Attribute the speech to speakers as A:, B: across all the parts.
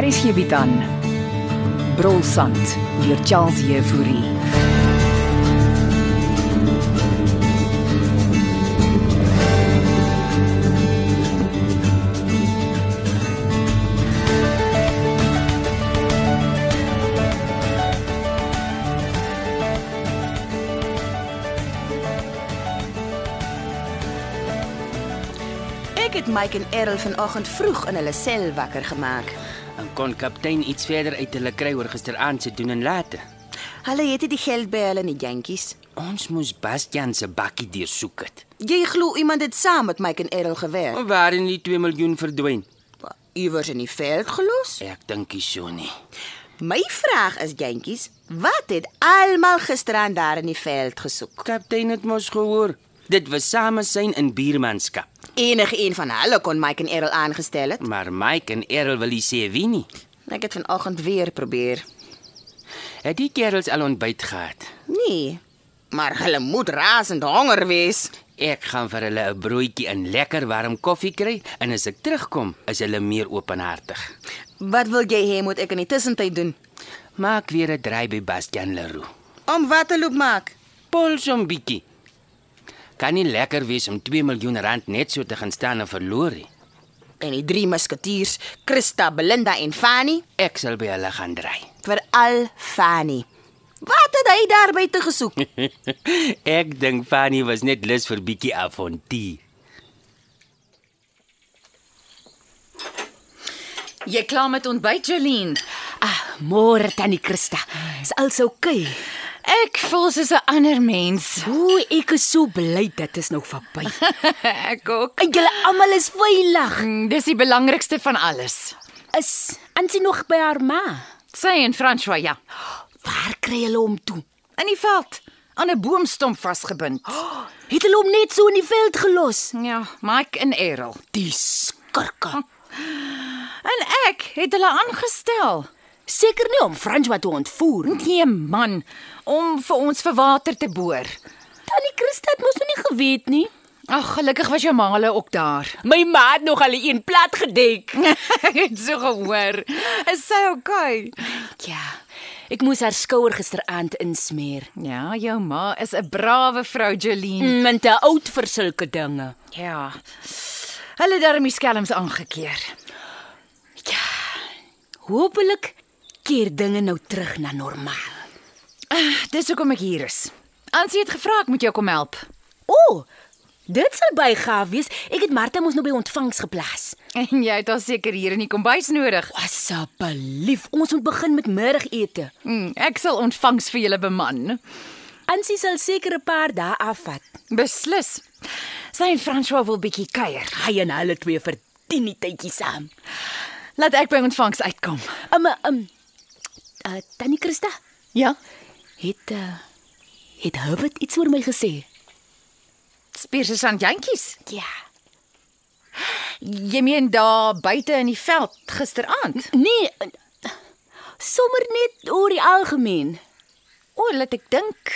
A: Hier is hierby dan. Brolsand deur Charles Jefouri.
B: Ek het Mike en Errol vanoggend vroeg in hulle sel wakker gemaak.
C: Dan kon kaptein iets verder uit hulle kry oor gisteraand se doen en late.
B: Hulle het nie die geld by hulle in die jantjies.
C: Ons moes Bastian se bakkie deursoek het.
B: Jy glo iemand het saam met Mike en Errol gewerk.
C: Waarin die 2 miljoen verdwyn?
B: Iewers in die veld gelos?
C: Ek dink nie so nie.
B: My vraag is jantjies, wat het almal gisteraan daar in die veld gesoek?
C: Kaptein het mos gehoor. Dit was same syn in biermanskap.
B: Enige een van hulle kon Mike en Errol aangestel het.
C: Maar Mike en Errol wil nie sê wie nie.
B: Ek het vanoggend weer probeer.
C: Het die kerels al ontbyt gehad?
B: Nee, maar hulle moet rasend honger wees.
C: Ek gaan vir hulle 'n broodjie en lekker warm koffie kry en as ek terugkom, is hulle meer openhartig.
B: Wat wil jy hê moet ek in die tussentyd doen?
C: Maak weer 'n draai by Bastian Leroux.
B: Om wat te loop maak?
C: Pols hom bietjie. Kan nie lekker wees om 2 miljoen rand net so te gaan staan en verloor nie.
B: En die drie musketiers, Christa, Belinda en Fanny,
C: Ek sal by hulle gaan draai.
B: veral Fanny. Wat het hy daarby te gesoek?
C: ek dink Fanny was net lus vir bietjie avontuur.
D: Jy klaar met ontbyt, Jolene?
E: Ah, môre tannie Christa. Is alles oukei? Okay?
D: Ek voel soos 'n ander mens.
E: Ooh, ek is so bly dit is nou verby.
D: ek ook.
E: En julle almal is veilig.
D: Mm, Dis die belangrikste van alles.
E: Is Ansie nog by haar ma?
D: Sy en François, ja,
E: Waar kry hulle hom toe?
D: in die veld aan 'n boomstomp vasgebind.
E: Het hulle hom net so in die veld gelos?
D: Oh. Ja, Mike en Errol.
E: Die skurke.
D: En ek het hulle aangestel.
E: Seker nie om Frans wat te ontvoer.
D: Nee man, om vir ons vir water te boor.
E: Tannie Christa het mos nog nie geweet nie.
D: Ag, gelukkig was jou ma hulle ook daar.
E: My ma het nog al een plat gedek.
D: ek het so gehoor. Is sy okay?
E: Ja. Ek moes haar skouer gisteraand insmeer.
D: Ja, jou ma is 'n brawe vrou, Jolene.
E: Want Mm, te oud vir sulke dinge.
D: Ja. Hulle het daarmee skelms aangekeer.
E: Hoopelik keer dinge nou terug na normaal.
D: Dis hoekom ek hier is. Ansie het gevra ek moet jou kom help.
E: O, oh, dit sal bygaaf wees. Ek het Martha mos nou by ontvangs geplaas.
D: En jy het al seker hier in die kombuis nodig.
E: Asseblief, ons moet begin met middagete.
D: Mm, ek sal ontvangs vir julle beman.
E: Ansie sal seker 'n paar dae afvat.
D: Beslis. Sy en François wil bietjie kuier.
E: Hy en hulle twee verdien die tydjie saam.
D: Laat ek by ontvangs uitkom.
E: Um um uh, Tannie Christa
D: Ja.
E: het uh, het Herbert iets oor my gesê.
D: Speerse aan jantjies.
E: Ja.
D: Jy meen daar buite in die veld gisteraand.
E: Nee, uh, sommer net oor die algemeen.
D: O, laat ek dink.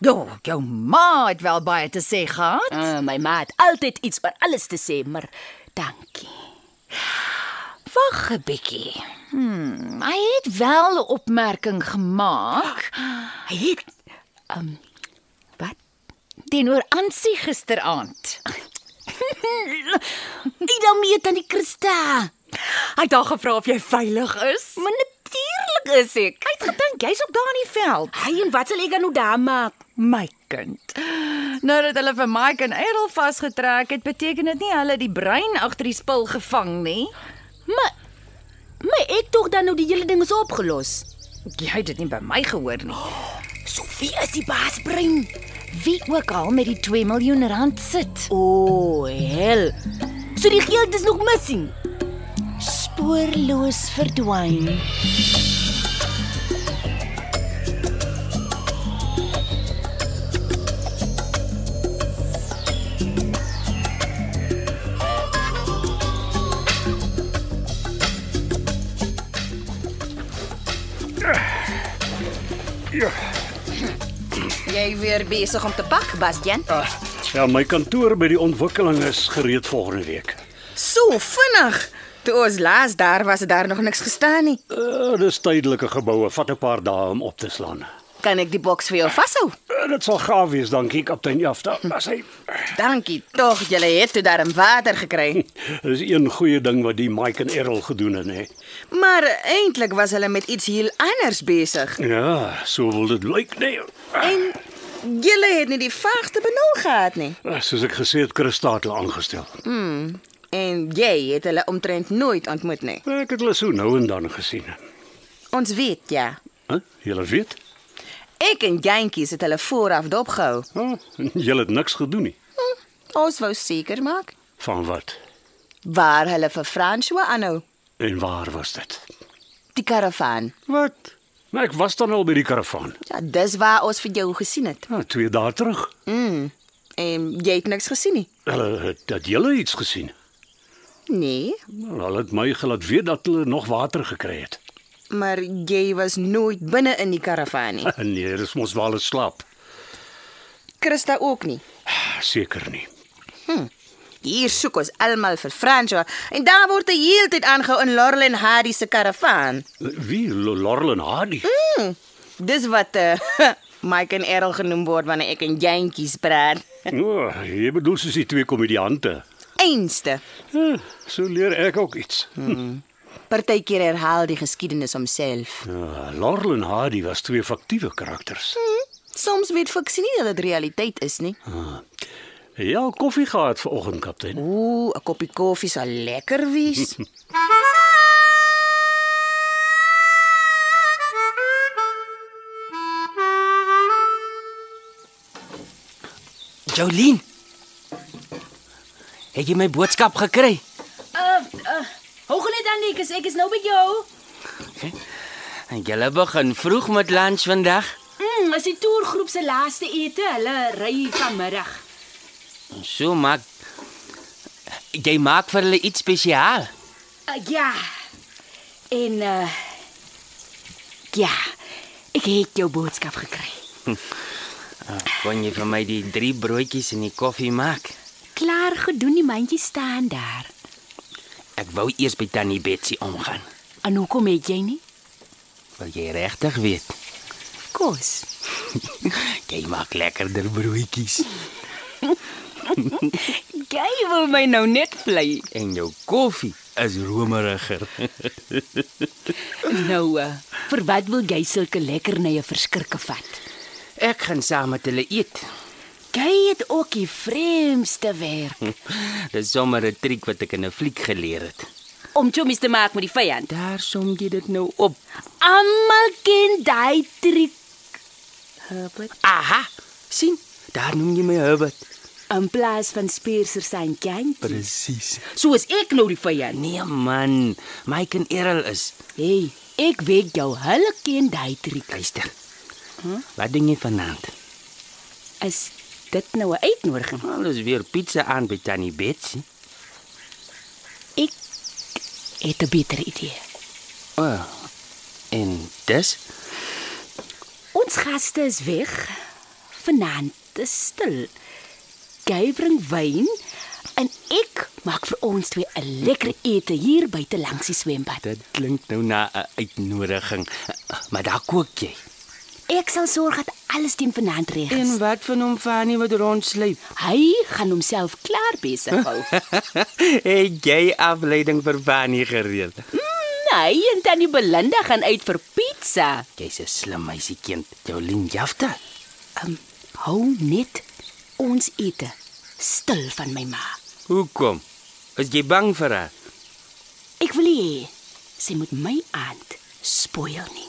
D: Jo, jou ma het wel baie te sê gehad.
E: Uh, my ma het altyd iets oor alles te sê, maar dankie.
D: Wag 'n bietjie. Hmm, hy het wel 'n opmerking gemaak
E: Hy het um wat?
D: teenoor Ansie gisteraand.
E: Dit dan mee tannie Christa.
D: Hy het haar gevra of jy veilig is.
E: Maar natuurlik is ek.
D: Hy het gedink jy's op daar in die veld,
E: Hy en wat sal ek nou daar maak?
D: my kind. Nou dat hulle vir Mike en Errol vasgetrek het, beteken dit nie hulle het die brein agter die spil gevang nie.
E: Maar maar ek tog dan nou die hele ding is opgelos.
D: Jy het dit nie by my gehoor nie.
E: Sofie is die baasbrein.
D: Wie ook al met die 2 miljoen rand sit.
E: O, oh, hel. So die geld is nog missing.
D: spoorloos verdwyn.
B: Jy weer besig om te pak, Bastian?
F: Ja, my kantoor by die ontwikkeling is gereed volgende week.
B: So vinnig. Toe ons laas daar was, het daar nog niks gestaan nie.
F: Uh, dis tydelike geboue, vat 'n paar dae om op te slaan.
B: Kan ek die boks vir jou vashou?
F: Uh, dit sal gaaf wees, dankie kaptein Jafta. As hy
B: Dankie tog, jy het toe daarom water gekry.
F: Dis er een goeie ding wat die Mike en Errol gedoen het, hè.
B: Maar eintlik was hulle met iets heel anders besig.
F: Ja, so wil dit lyk, nee.
B: En julle het nie die vaagste benul gehad nie.
F: Uh, soos ek gesê het, Christatel aangestel.
B: En jy het hulle omtrent nooit ontmoet nie.
F: Ek het hulle so nou en dan gesien.
B: Ons weet ja.
F: Hæ? Huh? Julle weet?
B: Ek en Jantjies het hulle vooraf dopgehou.
F: Oh, julle het niks gedoen nie.
B: Hm, ons wou seker maak
F: Van wat?
B: waar hulle vir François aanhou,
F: En waar was dit?
B: die karavaan.
F: Wat? Maar ek was dan al by die karavaan.
B: Ja, dis waar ons vir jou gesien het.
F: Ja, twee dae terug.
B: Mm. En jy het niks gesien nie.
F: Hulle het dat julle iets gesien.
B: Nee,
F: Wel, Hulle het my gelaat weet dat hulle nog water gekry het.
B: maar jy was nooit binne in die karavaan nie.
F: Nee, dis mos waar hulle slaap.
B: Christa ook nie.
F: Seker nie.
B: Hier soek ons almal vir François en daar word hy heeltyd aangehou in Laurel en Hardy se karavaan.
F: Wie Lo- Laurel en Hardy?
B: Dis wat eh Mike en Errol genoem word wanneer ek en Jantjies praat.
F: O, jy bedoel soos die twee komediante.
B: Einste.
F: Ja, so leer ek ook iets.
B: Partykeer herhaal die geskiedenis homself.
F: Ja, Laurel en Hardy was twee faktiewe karakters.
B: Soms weet fiksie nie dat dit realiteit is nie.
F: Ja, koffie gehad vanoggend, kaptein.
B: Ooh, 'n koppie koffie sal lekker wees.
C: Jolien. Het jy my boodskap gekry?
E: Uh, uh Hoog net dan nie, ek is nou by jou.
C: Jy begin vroeg met lunch vandag.
E: Mm, is die toergroep se laaste ete. Hulle ry vanmiddag.
C: So maak jy maak vir hulle iets spesiaal.
E: Uh, ja. En uh ja, ek het jou boodskap gekry.
C: Kon jy vir my die drie broodjies en die koffie maak?
E: Klaar gedoen, die mandjie staan daar.
C: Ek wou eers by Tannie Betsy omgaan.
E: En hoekom het jy nie?
C: Wil jy regtig weet?
E: Kos.
C: Jy maak lekkerder broodjies
E: Jy wil my nou net vlei.
C: en jou koffie is romeriger.
E: Nou, uh, vir wat wil jy sulke lekkernye verskrikke vat?
C: Ek gaan saam met hulle eet.
E: Jy het ook die vreemdste werk
C: Dis sommer 'n triek wat ek in 'n fliek geleer het.
E: om chommies te maak met die vyand.
C: Daar som jy dit nou op.
E: Almal ken daai triek.
C: Aha, sien? Daar noem jy my Herbert.
E: In plaas van spierser sein jantjie.
C: Presies.
E: Soos ek nou die vyand.
C: Nee man, Mike en Errol is.
E: Hey, ek weet jou, hulle ken daai triek.
C: Luister. Wat doen jy vanaand?
E: Is dit nou 'n uitnodiging?
C: Alles weer pizza aan by Tannie Betsy.
E: Ek het 'n beter idee.
C: Oh. En dis
E: Ons gaste is weg. Vanaand is stil. Jy bring wyn en ek maak vir ons twee 'n lekker ete hier buite langs die swembad.
C: dit klink nou na 'n uitnodiging. Maar daar kook jy.
E: Ek sal sorg dat alles teen vanaand reg
C: En
E: is.
C: wat van hom Fanny wat rondsluip?
E: Hy gaan homself klaar besig hou.
C: het jy afleiding vir Fanny gereël?
E: Nee, en tannie Belinda gaan uit vir pizza.
C: Jy's 'n slim meisiekind. Jolien Jafta.
E: Um, hou net ons ete stil van my ma.
C: Hoekom? Is jy bang vir haar?
E: Ek wil nie hê sy moet my aand spoil nie.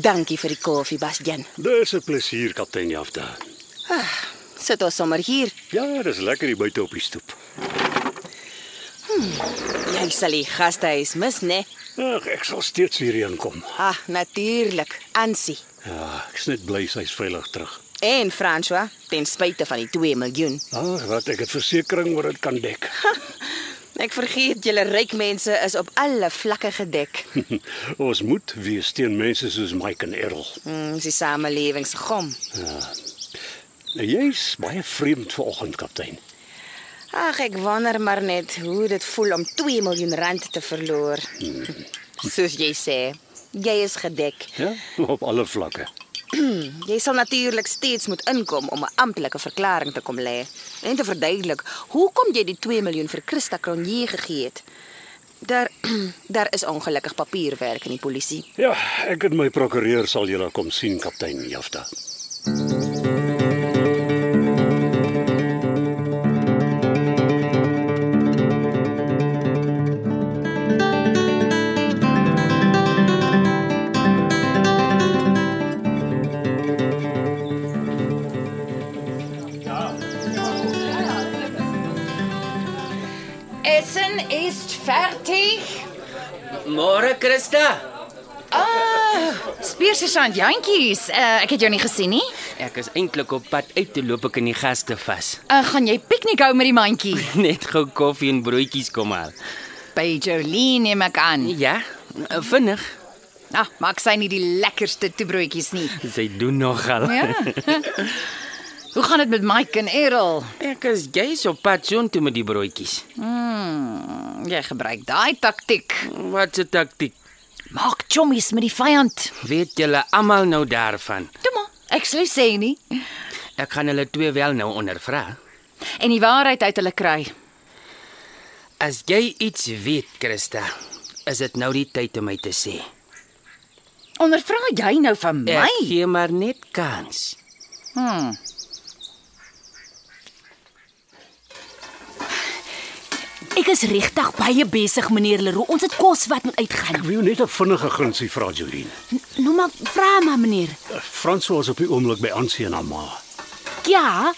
B: Dankie vir die koffie, Bastian.
F: Dis 'n plesier, kaptein Jafta.
B: Sit ons sommer hier.
F: Ja, dis lekker hier buite op die stoep.
B: Jy sal die gastehuis mis, né?
F: Ag, ek sal steeds hierheen kom.
B: Ah, natuurlik. Ansie
F: Ja, ek's net bly sy's veilig terug.
B: en François, ten spyte van die 2 miljoen.
F: Ah, Ag, wat ek het versekering oor dit kan dek.
B: Ek vergeet julle ryk mense is op alle vlakke gedek.
F: Ons moet wees teen mense soos Mike en Errol.
B: Mm, dis die samelewing se gom.
F: Nou, Jy's baie vreemd vanoggend, kaptein.
B: Ag, ek wonder maar net hoe dit voel om 2 miljoen rand te verloor. Soos jy sê, jy is gedek.
F: Ja, op alle vlakke.
B: Jy sal natuurlik steeds moet inkom om 'n amptelike verklaring te kom lê en te verduidelik hoekom jy die 2 miljoen vir Christa Cronje gegee het. Daar daar is ongelukkig papierwerk in die polisie.
F: Ja, ek en my prokureur sal julle kom sien, kaptein Jafta.
D: Essen is fertig.
C: Môre, Christa.
D: Spiersesant Jantjies, uh, ek het jou nie gesien nie.
C: Ek is eintlik op pad uit te loop ek in die gaste vas.
D: Uh, gaan jy piknik hou met die mandjie?
C: Net gou koffie en broodjies kom haal.
D: By Jolene neem ek aan.
C: Ja, eh, vinnig.
D: Ah, maak sy nie die lekkerste toebroodjies nie.
C: Sy doen nogal.
D: Ja. Hoe gaan dit met Mike en Errol?
C: Ek is jy's op pad soontoe met die broodjies.
D: Hmm, jy gebruik daai taktiek.
C: Wat 'n taktiek.
D: Maak chommies met die vyand.
C: Weet julle almal nou daarvan.
D: Toe maar, ek sê sê nie.
C: Ek gaan hulle twee wel nou ondervra.
D: En die waarheid uit hulle kry.
C: As jy iets weet, Christa, is dit nou die tyd om my te sê.
D: Ondervra jy nou van
C: Ek
D: my?
C: gee maar net kans.
D: Hmm.
E: Ek is regtig baie besig, meneer Leroux. Ons het kos wat moet
F: Ek
E: uitgaan.
F: wil jou net 'n vinnige gunsie vra, Jolien.
E: Nou maar vra maar, meneer.
F: Franso is op die oomblik by Ansie en haar ma.
E: Ja.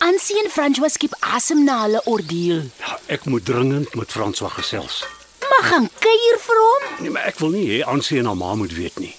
E: Ansie en François skep asem na hulle ordeel.
F: Ja, ek moet dringend met Franso gesels.
E: Mag gaan kuier vir hom.
F: Nee, maar ek wil nie hê Ansie en haar ma moet weet nie.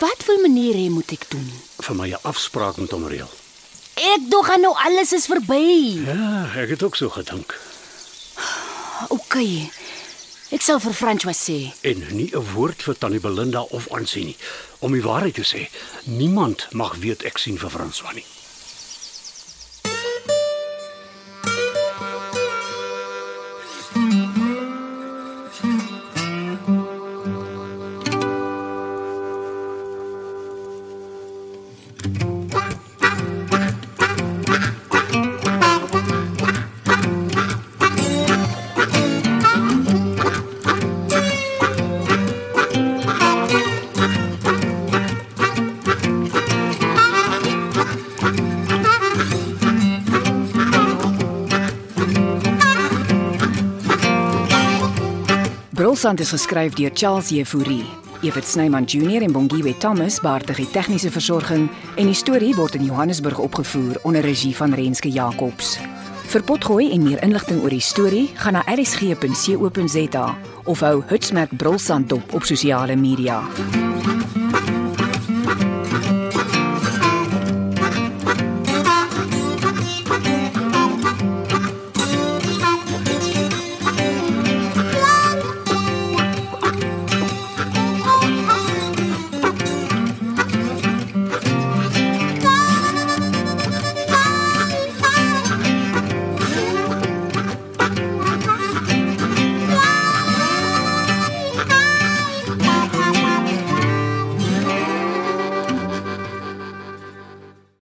E: Wat wil meneer hê moet ek doen?
F: Vir my 'n afspraak met hom reël.
E: Ek dog aan nou alles is verby.
F: Ja, ek het ook so gedink.
E: OK. Ek sal vir François sê.
F: En nie 'n woord vir Tannie Belinda of Ansie nie. Om die waarheid te sê, niemand mag weet ek sien vir Franso nie.
A: Brulsand is geskryf deur Charles Jefouri. Evert Snyman Junior en Bongwe Thomas baartig die tegniese versorging en die storie word in Johannesburg opgevoer onder regie van Renske Jacobs. Vir potgooi en meer inligting oor die storie, gaan na rsg.co.za of hou Hutsmerk Brulsand dop op sosiale media.